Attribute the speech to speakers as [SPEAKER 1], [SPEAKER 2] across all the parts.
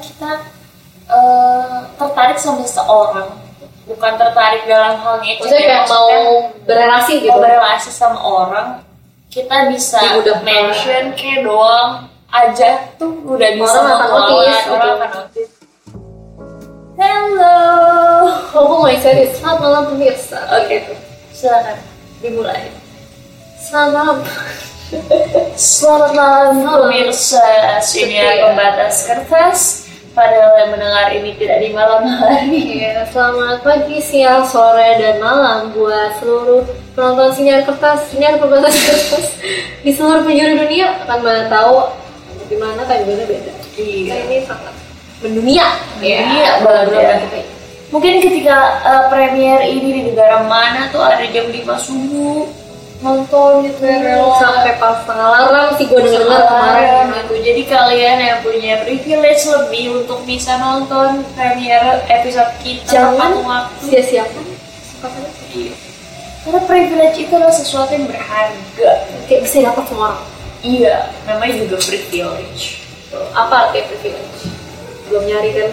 [SPEAKER 1] kita eh, tertarik sama seseorang bukan tertarik dalam hal negatif
[SPEAKER 2] Iya, Maksudnya kayak mau berrelasi
[SPEAKER 1] mau
[SPEAKER 2] gitu.
[SPEAKER 1] berrelasi sama orang kita bisa
[SPEAKER 2] Ya udah.
[SPEAKER 1] mention kayak doang aja tuh udah bisa
[SPEAKER 2] Orang akan
[SPEAKER 1] mengelola,
[SPEAKER 2] notice,
[SPEAKER 1] orang
[SPEAKER 2] gitu.
[SPEAKER 1] akan notice hello
[SPEAKER 2] Halo my series, selamat malam pemirsa.
[SPEAKER 1] Oke. silakan dimulai
[SPEAKER 2] Selamat malam.
[SPEAKER 1] Selamat malam
[SPEAKER 2] Malam. Iya.
[SPEAKER 1] pemirsa Siniar
[SPEAKER 2] Setia.
[SPEAKER 1] Pembatas Kertas Padahal yang mendengar ini tidak di malam hari
[SPEAKER 2] Iya, selamat pagi, siang, sore, dan malam buat seluruh penonton sinyal kertas, sinyal pembatas kertas di seluruh penjuru dunia akan tahu gimana timingnya beda. Kita
[SPEAKER 1] Iya
[SPEAKER 2] ini sangat mendunia.
[SPEAKER 1] Mendunia banget
[SPEAKER 2] baru
[SPEAKER 1] ya. Mungkin ketika eh, premier ini di negara mana tuh ada jam 5 subuh Nonton gitu
[SPEAKER 2] Sampai pas setengah larang sih gue denger dengar
[SPEAKER 1] Kemarin
[SPEAKER 2] kemarin.
[SPEAKER 1] gitu. Jadi kalian yang punya privilege lebih untuk bisa nonton premier episode kita
[SPEAKER 2] Jangan
[SPEAKER 1] tepat waktu
[SPEAKER 2] sia-siakan. kesempatan itu.
[SPEAKER 1] Iya. Karena privilege itu adalah sesuatu yang berharga
[SPEAKER 2] Kayak bisa dapat semua orang.
[SPEAKER 1] Iya, namanya juga privilege.
[SPEAKER 2] Apa artinya privilege? Belum nyari kan?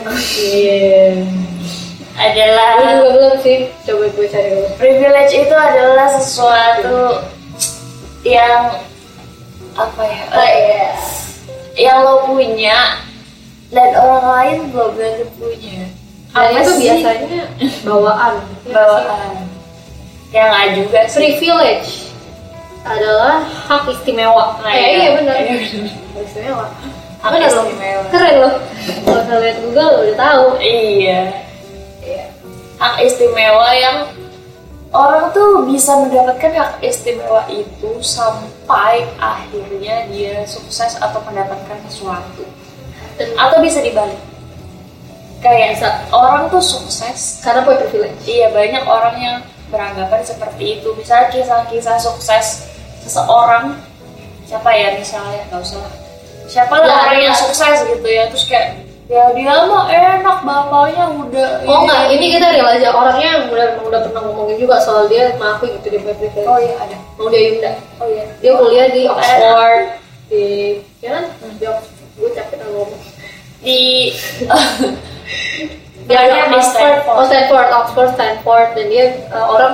[SPEAKER 2] Gue juga
[SPEAKER 1] Adalah
[SPEAKER 2] belum sih. Coba gue cari dulu.
[SPEAKER 1] privilege itu adalah sesuatu yang apa ya? Yang lo punya dan orang lain belum tentu punya.
[SPEAKER 2] Nah, itu
[SPEAKER 1] sih?
[SPEAKER 2] biasanya bawaan.
[SPEAKER 1] bawaan? Yang nggak juga sih.
[SPEAKER 2] Privilege adalah hak istimewa.
[SPEAKER 1] Nah,
[SPEAKER 2] Eh,
[SPEAKER 1] iya.
[SPEAKER 2] iya benar.
[SPEAKER 1] Iya,
[SPEAKER 2] Hak istimewa.
[SPEAKER 1] Hak
[SPEAKER 2] Benar loh.
[SPEAKER 1] istimewa.
[SPEAKER 2] Keren loh. Kalau kalian lihat Google udah tahu.
[SPEAKER 1] Iya.
[SPEAKER 2] Iya.
[SPEAKER 1] Hak istimewa yang orang tuh bisa mendapatkan hak istimewa itu sampai akhirnya dia sukses atau mendapatkan sesuatu.
[SPEAKER 2] Dan
[SPEAKER 1] atau bisa dibalik kayak
[SPEAKER 2] Bisa.
[SPEAKER 1] orang tuh sukses
[SPEAKER 2] karena punya privilege.
[SPEAKER 1] iya banyak orang yang beranggapan seperti itu misalnya kisah-kisah sukses seseorang siapa ya misalnya nggak usah lah. siapa lah
[SPEAKER 2] Ya,
[SPEAKER 1] orang
[SPEAKER 2] ya.
[SPEAKER 1] yang sukses gitu ya terus kayak ya dia mah enak bapaknya udah
[SPEAKER 2] Oh enggak, ini kita real aja orangnya yang udah udah pernah ngomongin juga soal dia mengakui gitu dia punya privilege.
[SPEAKER 1] oh iya ada
[SPEAKER 2] Mau dia Yunda.
[SPEAKER 1] oh iya
[SPEAKER 2] Dia kuliah di
[SPEAKER 1] Ada.
[SPEAKER 2] Oxford, di ya kan?
[SPEAKER 1] Hmm.
[SPEAKER 2] Di Oxford. Gue capek kalau ngomong.
[SPEAKER 1] di
[SPEAKER 2] dia
[SPEAKER 1] Dia
[SPEAKER 2] ada
[SPEAKER 1] di
[SPEAKER 2] Oxford,
[SPEAKER 1] Stanford.
[SPEAKER 2] oh, Stanford, Oxford, Stanford, dan dia uh, orang,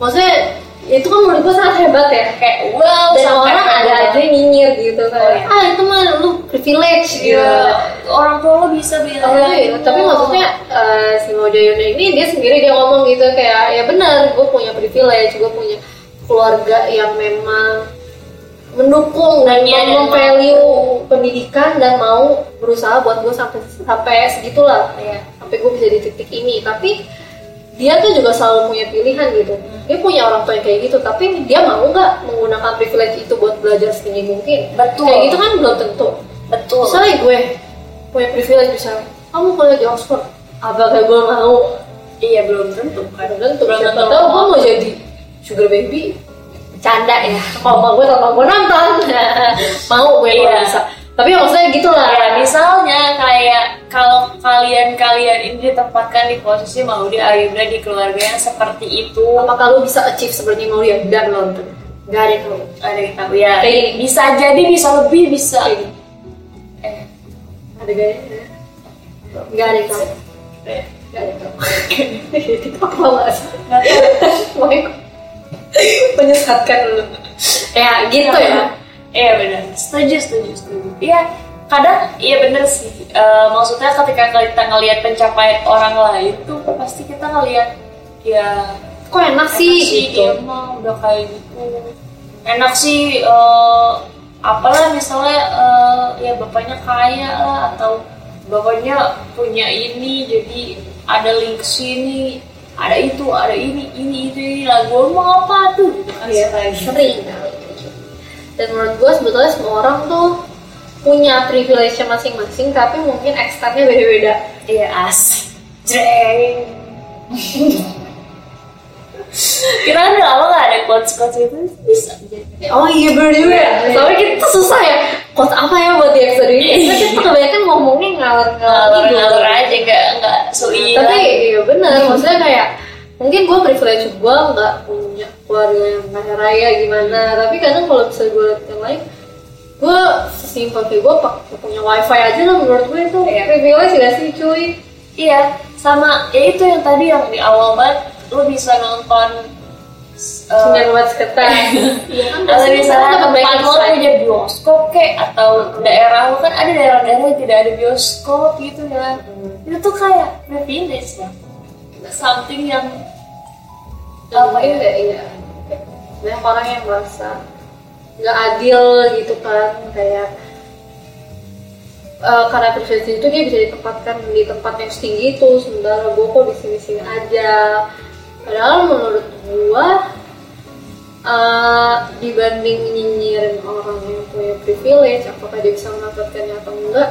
[SPEAKER 2] maksudnya itu kan menurut gue sangat hebat ya.
[SPEAKER 1] kayak wow
[SPEAKER 2] Dan
[SPEAKER 1] sampai
[SPEAKER 2] orang ada
[SPEAKER 1] keluar.
[SPEAKER 2] aja yang nyinyir gitu kan.
[SPEAKER 1] Oh, iya.
[SPEAKER 2] Ah itu mah lu privilege gitu.
[SPEAKER 1] Iya, orang tua lo bisa bilang
[SPEAKER 2] Oh, iya. Tapi
[SPEAKER 1] "Wow."
[SPEAKER 2] maksudnya uh, si Mojo Yuna ini dia sendiri dia ngomong gitu kayak ya benar gue punya privilege, gue punya keluarga yang memang mendukung dan
[SPEAKER 1] Iya, dan
[SPEAKER 2] mem-
[SPEAKER 1] mau-
[SPEAKER 2] value pendidikan dan mau berusaha buat gue sampai sampai segitulah
[SPEAKER 1] Iya.
[SPEAKER 2] sampai gue bisa di titik ini tapi dia tuh juga selalu punya pilihan gitu
[SPEAKER 1] Hmm.
[SPEAKER 2] dia punya orang tua yang kayak gitu tapi dia mau nggak menggunakan privilege itu buat belajar setinggi mungkin
[SPEAKER 1] Betul.
[SPEAKER 2] kayak gitu kan belum tentu
[SPEAKER 1] betul
[SPEAKER 2] misalnya gue punya privilege misalnya kamu kuliah di Oxford apakah gue mau
[SPEAKER 1] iya belum tentu kan
[SPEAKER 2] belum tentu
[SPEAKER 1] Belum
[SPEAKER 2] siapa
[SPEAKER 1] tentu.
[SPEAKER 2] tahu gue mau jadi sugar baby canda ya kalau mau gue tanpa gue nonton mau gue
[SPEAKER 1] Iya.
[SPEAKER 2] kalau bisa tapi maksudnya gitulah
[SPEAKER 1] Ya, misalnya kayak kalau kalian-kalian ini ditempatkan di posisi Maudi Ayunda di keluarga yang seperti itu
[SPEAKER 2] apakah lu bisa achieve seperti mau dia dan nonton gak ada yang tahu
[SPEAKER 1] ada yang tahu ya
[SPEAKER 2] Kayak gini.
[SPEAKER 1] bisa jadi bisa lebih bisa
[SPEAKER 2] Kayak gini.
[SPEAKER 1] eh,
[SPEAKER 2] ada gayanya nggak ada yang tahu
[SPEAKER 1] eh,
[SPEAKER 2] nggak ada yang tahu TikTok malas
[SPEAKER 1] nggak tahu.
[SPEAKER 2] Pokoknya menyesatkan lu ya gitu ya
[SPEAKER 1] Iya benar. Setuju, setuju, setuju. Iya, kadang iya benar sih. Eh, maksudnya ketika kita ngelihat pencapaian orang lain tuh pasti kita ngelihat ya
[SPEAKER 2] kok enak
[SPEAKER 1] enak dia
[SPEAKER 2] sih gitu
[SPEAKER 1] mah udah kayak gitu. Enak sih eh, apalah misalnya eh, ya bapaknya kaya lah atau bapaknya punya ini jadi ada link sini ada itu ada ini ini itu ini lah gue mau apa tuh
[SPEAKER 2] Iya, sering kali gitu. dan menurut gue sebetulnya semua orang tuh punya privilege masing-masing tapi mungkin externnya beda-beda
[SPEAKER 1] Iya asik Jreng Kita kan udah lama gak ada quotes-quotes itu Bisa
[SPEAKER 2] oh iya bener juga ya soalnya kita tuh susah ya quote apa ya buat di episode ini
[SPEAKER 1] Iya.
[SPEAKER 2] kita tuh kebanyakan ngomongnya ngalor-ngalor gitu.
[SPEAKER 1] Ngalur-ngalur aja gak, gak suiran
[SPEAKER 2] tapi iya bener maksudnya kayak mungkin gue privilege gue nggak punya keluarga yang kaya raya gimana tapi kadang kalau bisa gue lihat yang lain gue sesimpel kayak gue pak punya wifi aja lah menurut gue itu
[SPEAKER 1] Iya.
[SPEAKER 2] privilege gak sih cuy
[SPEAKER 1] Iya, sama ya itu yang tadi yang di awal banget lu bisa nonton s- eh,
[SPEAKER 2] Sinyal buat seketar Iya kan
[SPEAKER 1] kalau
[SPEAKER 2] pasti sekarang
[SPEAKER 1] misalnya
[SPEAKER 2] dapat banyak
[SPEAKER 1] tempat lo
[SPEAKER 2] insight.
[SPEAKER 1] punya bioskop kek atau daerah lo kan ada daerah-daerah yang tidak ada bioskop gitu kan itu tuh kayak privilege ya something yang
[SPEAKER 2] Dan
[SPEAKER 1] Apa ya?
[SPEAKER 2] mungkin kayak iya banyak orang yang merasa nggak adil gitu kan kayak eh, karena privilege itu dia bisa ditempatkan di tempat yang setinggi itu sementara gue kok di sini sini aja padahal menurut gue eh, dibanding nyinyirin orang yang punya privilege apakah dia bisa mendapatkannya atau enggak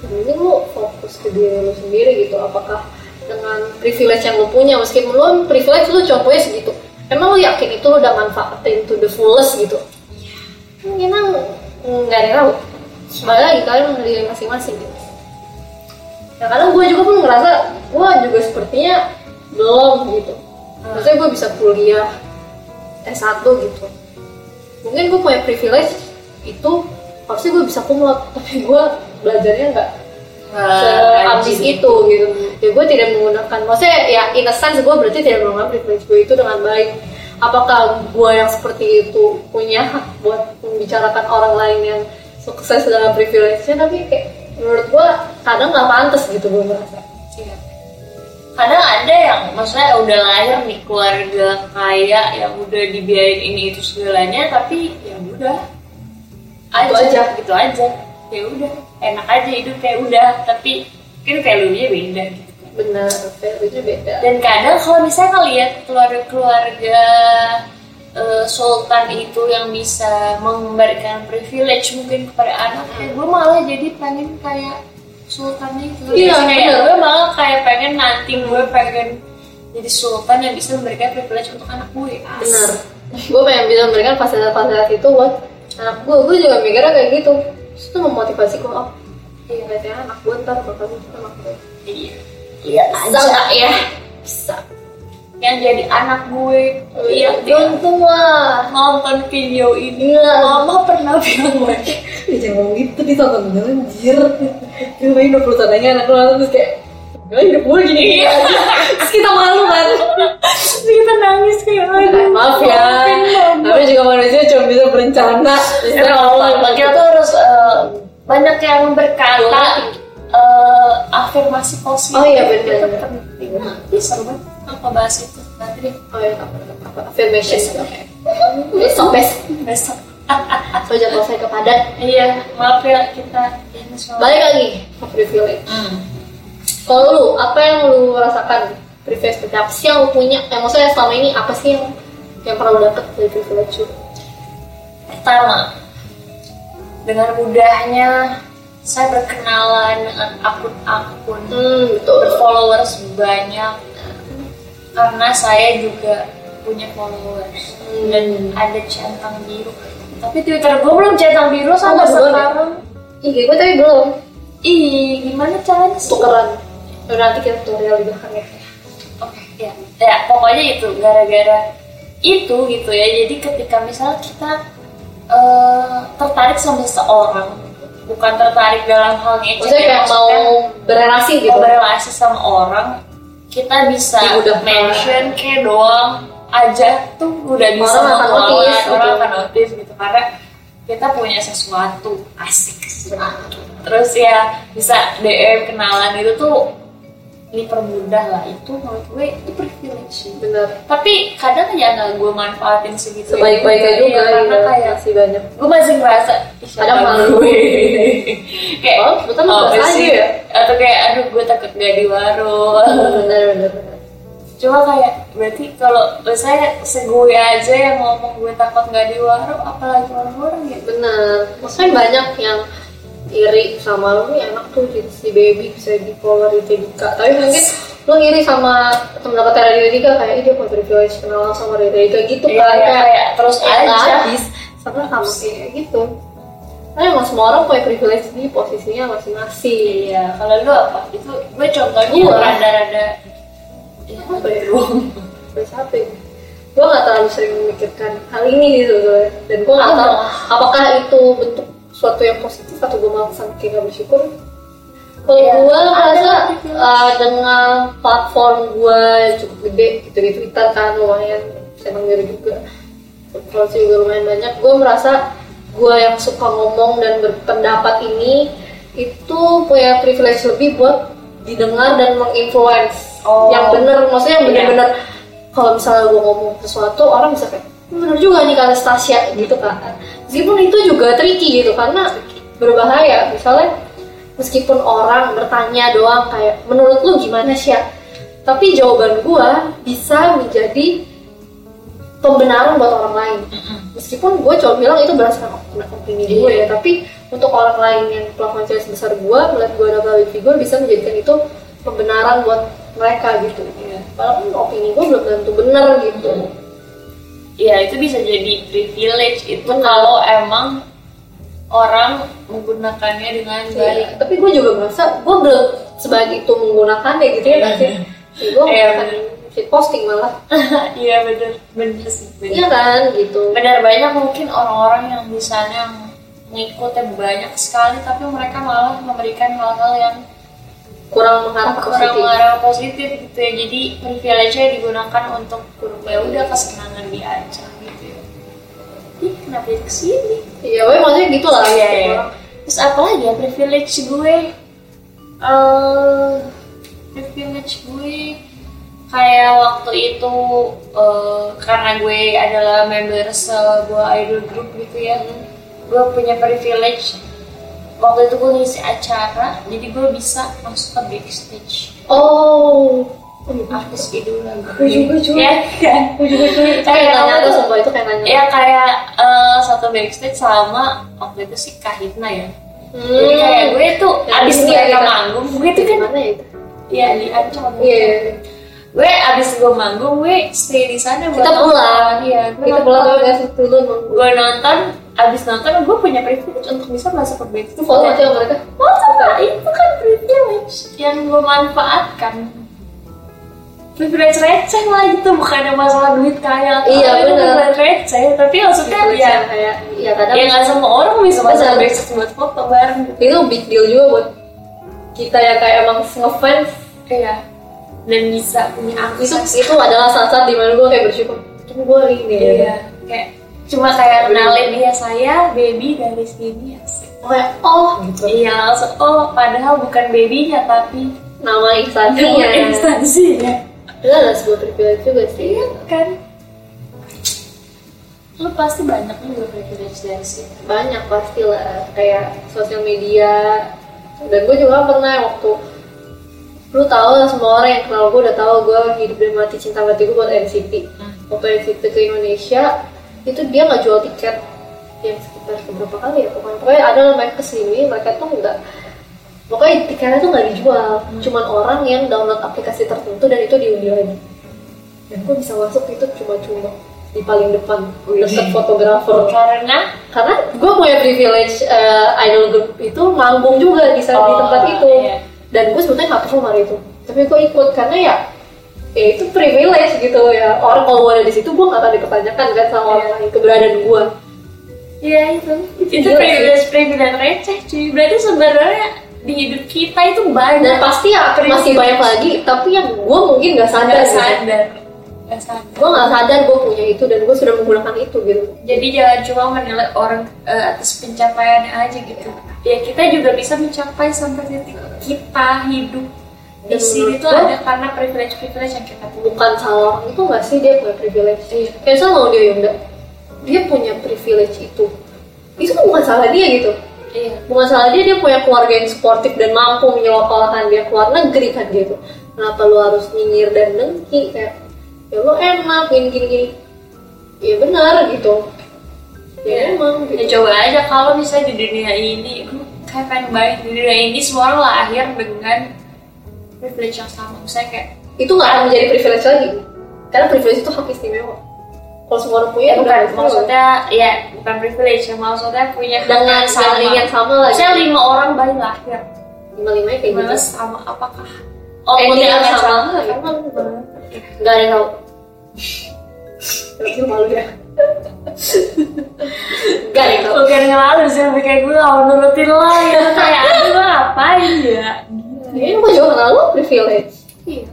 [SPEAKER 2] yang penting lu fokus ke diri lu sendiri gitu apakah dengan privilege yang lu punya meskipun lu privilege lu cuma punya segitu emang lu yakin itu lu udah manfaatin to the fullest gitu mungkin Iya. nggak ada yang tahu kembali lagi kalian mengenai diri masing-masing gitu nah kadang gue juga pun ngerasa gue juga sepertinya belum gitu maksudnya gue bisa kuliah S1 gitu mungkin gue punya privilege itu harusnya gue bisa kumlot tapi gue belajarnya nggak
[SPEAKER 1] Eh,
[SPEAKER 2] Nah, seambis itu gitu ya gue tidak menggunakan maksudnya ya in a sense gue berarti tidak menggunakan privilege gue itu dengan baik apakah gue yang seperti itu punya hak buat membicarakan orang lain yang sukses dalam privilege-nya tapi kayak menurut gue kadang nggak pantas gitu gue merasa
[SPEAKER 1] Iya. kadang ada yang maksudnya udah lahir nih keluarga kaya yang udah dibiayain ini itu segalanya tapi ya udah aja,
[SPEAKER 2] Gitu aja.
[SPEAKER 1] gitu aja ya udah enak aja hidup kayak udah tapi mungkin value-nya beda gitu
[SPEAKER 2] benar value-nya beda
[SPEAKER 1] dan kadang kalau misalnya ngeliat keluarga-keluarga eh, sultan itu yang bisa memberikan privilege mungkin kepada anak
[SPEAKER 2] Hmm.
[SPEAKER 1] kayak gue malah jadi pengen kayak sultan itu
[SPEAKER 2] Iya,
[SPEAKER 1] Jadi kayak
[SPEAKER 2] bener.
[SPEAKER 1] gue malah kayak pengen nanti gue pengen jadi sultan yang bisa memberikan privilege untuk anak gue
[SPEAKER 2] benar gue pengen bisa memberikan fasilitas-fasilitas itu buat anak gue gue juga mikirnya kayak gitu Terus itu memotivasi gue oh iya kayaknya anak gue ntar bakal anak gue
[SPEAKER 1] iya iya
[SPEAKER 2] bisa nggak ya bisa
[SPEAKER 1] yang jadi anak gue iya
[SPEAKER 2] iya
[SPEAKER 1] dia
[SPEAKER 2] untung lah
[SPEAKER 1] nonton video ini
[SPEAKER 2] Iya.
[SPEAKER 1] mama pernah bilang gue
[SPEAKER 2] Ih, jangan ngomong gitu ditonton dulu anjir Filmnya 20 tanahnya anak lu nonton terus kayak Gak hidup gue gini gini aja Terus kita malu kan
[SPEAKER 1] Terus kita nangis kayak aduh,
[SPEAKER 2] Maaf ya
[SPEAKER 1] maafin mama.
[SPEAKER 2] Tapi juga manusia cuma bisa berencana Iya, Oh,
[SPEAKER 1] Ya Allah, kita tuh harus eh, banyak yang berkata eh, afirmasi positif.
[SPEAKER 2] Oh iya, bener.
[SPEAKER 1] Itu penting. Ih, seru banget apa bahas itu nanti deh
[SPEAKER 2] Oh ya apa-apa Affirmation Oke Besok besok
[SPEAKER 1] besok.
[SPEAKER 2] So jatuh saya kepada
[SPEAKER 1] iya, maaf ya kita ini soal.
[SPEAKER 2] Balik lagi ke privilege
[SPEAKER 1] Hmm.
[SPEAKER 2] Kalau lu, apa yang lu rasakan privilege seperti apa sih yang lu punya? Eh, maksudnya selama ini apa sih yang yang pernah lu dapet dari privilege lu?
[SPEAKER 1] Pertama, dengan mudahnya saya berkenalan dengan akun-akun
[SPEAKER 2] Hmm, betul.
[SPEAKER 1] followers banyak karena saya juga punya followers dan ada centang biru tapi twitter gue belum centang biru sampai
[SPEAKER 2] belum ya?
[SPEAKER 1] sekarang
[SPEAKER 2] IG gue tapi belum
[SPEAKER 1] ih gimana caranya sih oke
[SPEAKER 2] tukeran. Udah nanti kita tutorial di belakang ya.
[SPEAKER 1] ya ya pokoknya itu gara-gara itu gitu ya jadi ketika misalnya kita eh, tertarik sama seseorang bukan tertarik dalam hal ngecek
[SPEAKER 2] Maksudnya
[SPEAKER 1] ya,
[SPEAKER 2] kayak mau
[SPEAKER 1] maksudnya-
[SPEAKER 2] berelasi gitu.
[SPEAKER 1] kita berrelasi sama orang kita bisa
[SPEAKER 2] Ya udah.
[SPEAKER 1] mention kayak doang aja tuh udah bisa
[SPEAKER 2] Orang akan
[SPEAKER 1] mengelola,
[SPEAKER 2] notice
[SPEAKER 1] orang
[SPEAKER 2] gitu.
[SPEAKER 1] akan notice gitu karena kita punya sesuatu asik
[SPEAKER 2] Sesuatu.
[SPEAKER 1] terus ya bisa DM kenalan itu tuh dipermudah lah itu menurut gue itu privilege sih.
[SPEAKER 2] Bener.
[SPEAKER 1] tapi kadang ya nggak gue manfaatin segitu
[SPEAKER 2] Sebaik-baiknya
[SPEAKER 1] Iya,
[SPEAKER 2] juga
[SPEAKER 1] karena
[SPEAKER 2] gitu.
[SPEAKER 1] kayak
[SPEAKER 2] Masih banyak.
[SPEAKER 1] gue masih ngerasa "Ih,
[SPEAKER 2] Kadang
[SPEAKER 1] siapa
[SPEAKER 2] malu.
[SPEAKER 1] gue?" kayak
[SPEAKER 2] Oh, kebetulan lu
[SPEAKER 1] apa
[SPEAKER 2] ngerasa
[SPEAKER 1] sih?
[SPEAKER 2] aja ya?
[SPEAKER 1] atau kayak aduh gue takut gak di warung
[SPEAKER 2] Bener, bener, bener.
[SPEAKER 1] cuma kayak berarti kalau saya segue aja yang ngomong gue takut gak di warung apalagi orang-orang gitu
[SPEAKER 2] Bener. Maksudnya banyak yang iri sama lu nih enak tuh jadi si baby bisa di follower di Dika gitu." tapi mungkin lu iri sama temen dekatnya Radio Dika kayak "Ih, dia punya privilege kenal sama Radio Dika gitu
[SPEAKER 1] Iya,
[SPEAKER 2] kan
[SPEAKER 1] iya, kayak terus aja.
[SPEAKER 2] habis sama sama kayak gitu karena emang semua orang punya privilege di posisinya masing-masing
[SPEAKER 1] iya kalau lu apa itu gue contohnya
[SPEAKER 2] Gua.
[SPEAKER 1] rada-rada ya,
[SPEAKER 2] Apa ya?
[SPEAKER 1] belum
[SPEAKER 2] Gue capek
[SPEAKER 1] ya?
[SPEAKER 2] gue gak terlalu sering memikirkan hal ini gitu sebetulnya. dan gue gak
[SPEAKER 1] Apa?
[SPEAKER 2] tahu apakah itu bentuk suatu yang positif atau gue malah saking gak bersyukur kalau
[SPEAKER 1] Iya.
[SPEAKER 2] gue
[SPEAKER 1] Ada
[SPEAKER 2] merasa
[SPEAKER 1] lah, gitu.
[SPEAKER 2] uh, dengan platform gue cukup gede gitu di Twitter kan lumayan senang diri juga followers juga lumayan banyak gue merasa gue yang suka ngomong dan berpendapat ini itu punya privilege lebih buat didengar dan menginfluence
[SPEAKER 1] Oh.
[SPEAKER 2] yang bener maksudnya yang
[SPEAKER 1] Iya.
[SPEAKER 2] bener-bener kalau misalnya gue ngomong sesuatu orang bisa kayak "Hmm, bener juga nih kata Stasia gitu kan meskipun itu juga tricky gitu karena berbahaya misalnya meskipun orang bertanya doang kayak menurut lu gimana sih tapi jawaban gua bisa menjadi pembenaran buat orang lain meskipun gue cuma bilang itu berdasarkan op- opini gue
[SPEAKER 1] Iya.
[SPEAKER 2] ya tapi untuk orang lain yang pelakukan cewek sebesar gue melihat gue ada public figure bisa menjadikan itu pembenaran buat mereka gitu
[SPEAKER 1] Iya.
[SPEAKER 2] walaupun opini gue belum tentu benar gitu
[SPEAKER 1] ya itu bisa jadi privilege itu
[SPEAKER 2] Benar.
[SPEAKER 1] kalau emang orang menggunakannya dengan
[SPEAKER 2] Iya,
[SPEAKER 1] baik
[SPEAKER 2] tapi gue juga merasa gue belum sebaik itu menggunakannya gitu ya nggak sih gue
[SPEAKER 1] Iya.
[SPEAKER 2] bukan shit posting malah
[SPEAKER 1] iya bener bener sih bener.
[SPEAKER 2] iya kan gitu
[SPEAKER 1] bener banyak mungkin orang-orang yang misalnya ngikutnya banyak sekali tapi mereka malah memberikan hal-hal yang
[SPEAKER 2] kurang mengarah ke
[SPEAKER 1] kurang
[SPEAKER 2] positif
[SPEAKER 1] mengarah positif gitu ya jadi privilege-nya digunakan untuk ya udah kesenangan dia aja gitu ya ih kenapa jadi kesini
[SPEAKER 2] iya pokoknya maksudnya gitu lah
[SPEAKER 1] Iya,
[SPEAKER 2] gitu.
[SPEAKER 1] iya. Terus apa lagi ya privilege gue? Eh, privilege gue kayak waktu itu eh, karena gue adalah member sebuah idol group gitu ya. Gue punya privilege waktu itu gue ngisi acara, jadi gue bisa masuk ke backstage
[SPEAKER 2] oh
[SPEAKER 1] artis idola
[SPEAKER 2] gue
[SPEAKER 1] gue.
[SPEAKER 2] juga cuy
[SPEAKER 1] Ya kan?
[SPEAKER 2] gue juga cuy itu kayak
[SPEAKER 1] Kayak
[SPEAKER 2] nanya
[SPEAKER 1] apa
[SPEAKER 2] tuh
[SPEAKER 1] tuh?
[SPEAKER 2] sumpah itu kayak nanya
[SPEAKER 1] Ya kayak eh, satu backstage sama waktu itu sih Kahitna ya.
[SPEAKER 2] Hmm.
[SPEAKER 1] Jadi kayak Iya, gue tuh
[SPEAKER 2] Ya,
[SPEAKER 1] abis
[SPEAKER 2] ini
[SPEAKER 1] mereka
[SPEAKER 2] kita-
[SPEAKER 1] manggung, gue tuh kan
[SPEAKER 2] Gimana ya itu?
[SPEAKER 1] ya di Ancol.
[SPEAKER 2] Iya.
[SPEAKER 1] Gue abis gue manggung, gue stay di sana. buat
[SPEAKER 2] Kita
[SPEAKER 1] nonton.
[SPEAKER 2] pulang.
[SPEAKER 1] Iya. gue
[SPEAKER 2] Kita
[SPEAKER 1] nonton.
[SPEAKER 2] pulang tapi nggak suruh turun nunggu.
[SPEAKER 1] Gue nonton, abis nonton gue punya privilege untuk bisa masuk ke backstage.
[SPEAKER 2] Itu follow aja sama mereka.
[SPEAKER 1] Oh, sama. itu kan privilege yang gue manfaatkan. Privilege receh lah gitu, bukan ada masalah duit kaya. atau
[SPEAKER 2] Iya,
[SPEAKER 1] apa, itu
[SPEAKER 2] bener.
[SPEAKER 1] Privilege receh, tapi maksudnya ya,
[SPEAKER 2] kayak ya kadang
[SPEAKER 1] ya nggak semua orang bisa masuk ke
[SPEAKER 2] Bener.
[SPEAKER 1] backstage buat foto bareng. gitu.
[SPEAKER 2] itu big deal juga buat kita yang kayak emang ngefans.
[SPEAKER 1] Iya. Dan bisa punya
[SPEAKER 2] Itu
[SPEAKER 1] akses.
[SPEAKER 2] itu adalah saat-saat dimana gue kayak bersyukur. Tapi gue hari ini.
[SPEAKER 1] Iya. Kayak cuma kayak kenalin dia saya baby dari sini asik.
[SPEAKER 2] Oh, kayak, oh gitu.
[SPEAKER 1] Iya langsung oh padahal bukan babynya tapi
[SPEAKER 2] Nama instansinya.
[SPEAKER 1] nama instansinya.
[SPEAKER 2] Itu adalah sebuah privilege juga sih.
[SPEAKER 1] Iya kan. Lu pasti banyak juga privilege dari sini.
[SPEAKER 2] banyak pasti lah kayak sosial media dan gue juga pernah waktu lu tahu lah semua orang yang kenal gue udah tahu gue hidup dan mati cinta mati gue buat NCT waktu NCT ke Indonesia itu dia nggak jual tiket yang sekitar beberapa kali ya pokoknya pokoknya ada lah mereka kesini mereka tuh nggak pokoknya tiketnya tuh nggak dijual cuman orang yang download aplikasi tertentu dan itu diundi lagi dan gue bisa masuk itu cuma-cuma di paling depan
[SPEAKER 1] Wih.
[SPEAKER 2] deket fotografer
[SPEAKER 1] Karena
[SPEAKER 2] karena gue punya privilege eh, idol group itu manggung juga di sana di
[SPEAKER 1] Oh,
[SPEAKER 2] tempat itu
[SPEAKER 1] iya.
[SPEAKER 2] dan gue sebetulnya nggak perform hari itu tapi gue ikut karena ya ya itu privilege gitu ya orang kalau gue ada di situ gue nggak akan dipertanyakan kan sama
[SPEAKER 1] Iya.
[SPEAKER 2] orang lain keberadaan gue
[SPEAKER 1] ya itu itu
[SPEAKER 2] Gila sih.
[SPEAKER 1] privilege privilege receh cuy. Berarti sebenarnya di hidup kita itu
[SPEAKER 2] dan
[SPEAKER 1] banyak
[SPEAKER 2] pasti ya masih banyak lagi tapi yang gue mungkin nggak sadar
[SPEAKER 1] nggak
[SPEAKER 2] gitu.
[SPEAKER 1] Nah, sadar. Nggak sadar.
[SPEAKER 2] gue nggak sadar gue punya itu dan gue sudah menggunakan itu gitu
[SPEAKER 1] Jadi jangan cuma menilai orang eh, atas pencapaiannya aja gitu. Ya kita juga bisa mencapai sampai titik kita hidup di
[SPEAKER 2] Dan
[SPEAKER 1] sini
[SPEAKER 2] menurut
[SPEAKER 1] tuh
[SPEAKER 2] gua-
[SPEAKER 1] ada karena privilege-privilege yang kita punya.
[SPEAKER 2] bukan salah orang itu nggak sih dia punya privilege
[SPEAKER 1] Iya.
[SPEAKER 2] kayak misalnya mau dia Yunda dia punya privilege itu itu kan bukan salah dia gitu
[SPEAKER 1] Iya.
[SPEAKER 2] bukan salah dia dia punya keluarga yang sportif dan mampu menyekolahkan dia keluar negeri kan gitu kenapa lu harus nyinyir dan dengki kayak ya lu enak gini gini gini ya benar gitu ya emang
[SPEAKER 1] Ya
[SPEAKER 2] gitu.
[SPEAKER 1] coba aja kalau misalnya di dunia ini, aduh, kayak pengen banget di dunia ini semua orang lahir dengan privilege yang sama. Misalnya kayak
[SPEAKER 2] itu nggak akan menjadi privilege lagi karena privilege itu hak istimewa kalau semua orang punya
[SPEAKER 1] ya, bukan
[SPEAKER 2] udah
[SPEAKER 1] maksudnya ya bukan privilege, ya, maksudnya punya
[SPEAKER 2] dengan
[SPEAKER 1] sama.
[SPEAKER 2] saling yang sama lah
[SPEAKER 1] Misalnya lima orang baru lahir,
[SPEAKER 2] lima limanya kayak gitu
[SPEAKER 1] gimana sama apakah?
[SPEAKER 2] Eh,
[SPEAKER 1] outputnya
[SPEAKER 2] yang
[SPEAKER 1] akan
[SPEAKER 2] sama, emang
[SPEAKER 1] Banget.
[SPEAKER 2] nggak ada yang tahu. Tapi malu ya. Enggak deh kalau
[SPEAKER 1] Bukan ngelalu sih, lebih kayak gue gak mau nurutin lo gitu Kayak aduh lo ngapain ya
[SPEAKER 2] Ini gue juga kenal lo privilege
[SPEAKER 1] Iya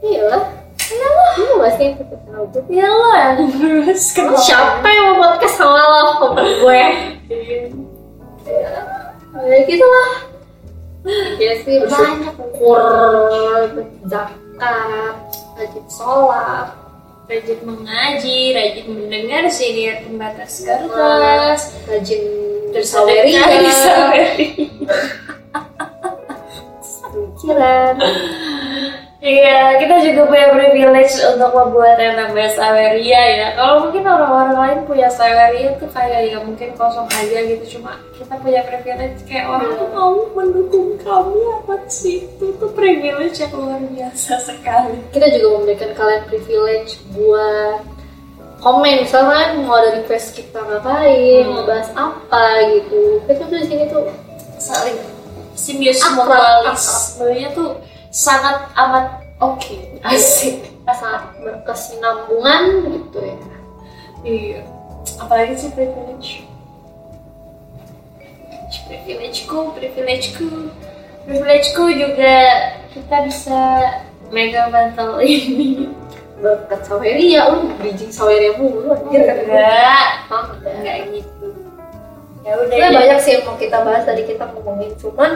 [SPEAKER 2] Iya lah Iya lah Lu gak sih yang tetep kenal gue
[SPEAKER 1] Iya lo yang kan. terus
[SPEAKER 2] Lu Siapa yang mau podcast sama lo Kompor gue Ya gitu lah Ya sih
[SPEAKER 1] Banyak.
[SPEAKER 2] bersyukur Zakat Wajib sholat
[SPEAKER 1] Rajin mengaji, rajin mendengar sini pembatas kertas
[SPEAKER 2] Rajin
[SPEAKER 1] Tersaweria
[SPEAKER 2] bersaweria Pikiran
[SPEAKER 1] Iya, kita juga punya privilege untuk membuat yang namanya saweria ya. Kalau mungkin orang-orang lain punya saweria tuh kayak ya mungkin kosong aja gitu. Cuma kita punya privilege kayak orang tuh mau mendukung kamu apa sih? Itu tuh privilege yang luar biasa sekali.
[SPEAKER 2] kita juga memberikan kalian privilege buat komen misalnya mau ada request kita ngapain
[SPEAKER 1] Hmm.
[SPEAKER 2] mau bahas apa gitu kita tuh di sini tuh
[SPEAKER 1] Saling simbiosis
[SPEAKER 2] Akrab, akrab.
[SPEAKER 1] mutualis. Sebenarnya tuh sangat amat oke, asik.
[SPEAKER 2] sangat berkesinambungan gitu ya
[SPEAKER 1] Iya. Apalagi sih privilege? Privilege, Privilegeku, privilegeku, privilegeku juga kita bisa mega bantal ini.
[SPEAKER 2] berkat saweria lu bridging saweria mulu anjir
[SPEAKER 1] Iya. Enggak,
[SPEAKER 2] Hah? Enggak.
[SPEAKER 1] enggak gitu. Ya udah. ya.
[SPEAKER 2] Sebenarnya Iya, banyak sih yang mau kita bahas tadi kita ngomongin cuman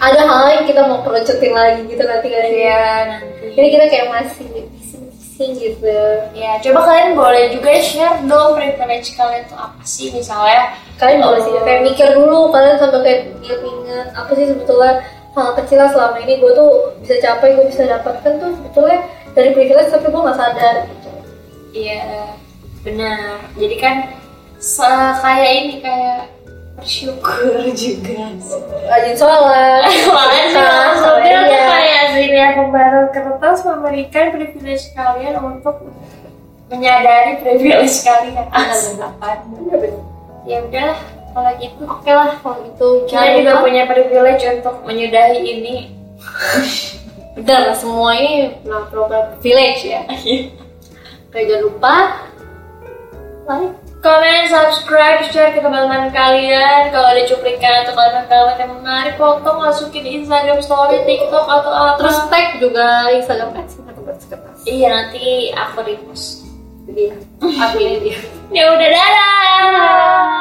[SPEAKER 2] ada hal lain kita mau kerucutin lagi gitu nanti kan
[SPEAKER 1] Iya,
[SPEAKER 2] ya
[SPEAKER 1] nanti.
[SPEAKER 2] jadi kita kayak masih bising-bising gitu
[SPEAKER 1] Ya, coba kalian boleh juga share dong privilege kalian tuh apa sih misalnya
[SPEAKER 2] kalian boleh sih
[SPEAKER 1] Oh.
[SPEAKER 2] kayak mikir dulu kalian sampai kayak inget-inget apa sih sebetulnya hal kecil lah selama ini gue tuh bisa capai gue bisa dapatkan tuh sebetulnya dari privilege tapi gue nggak sadar gitu
[SPEAKER 1] Iya, benar. Jadi kan se kayak ini kayak bersyukur juga sih.
[SPEAKER 2] rajin
[SPEAKER 1] Kemarin
[SPEAKER 2] sholat
[SPEAKER 1] sih
[SPEAKER 2] sholat,
[SPEAKER 1] maksudnya
[SPEAKER 2] sholat,
[SPEAKER 1] tuh
[SPEAKER 2] iya.
[SPEAKER 1] kayak dunia pembatas kertas memberikan privilege kalian untuk menyadari privilege kalian
[SPEAKER 2] Ah,
[SPEAKER 1] asli apaan. Ya udah, kalau gitu.
[SPEAKER 2] oke lah kalau gitu
[SPEAKER 1] Kita juga punya privilege untuk menyudahi ini.
[SPEAKER 2] bener semuanya nah, program privilege ya kayak jangan lupa like
[SPEAKER 1] Comment, subscribe, share ke teman-teman kalian. Kalau ada cuplikan atau kalimat-kalimat yang menarik, foto masukin di Instagram Story, TikTok atau apa.
[SPEAKER 2] terus tag juga instagram ads kertas
[SPEAKER 1] iya nanti aku repost.
[SPEAKER 2] jadi admin dia
[SPEAKER 1] Ya udah dadah.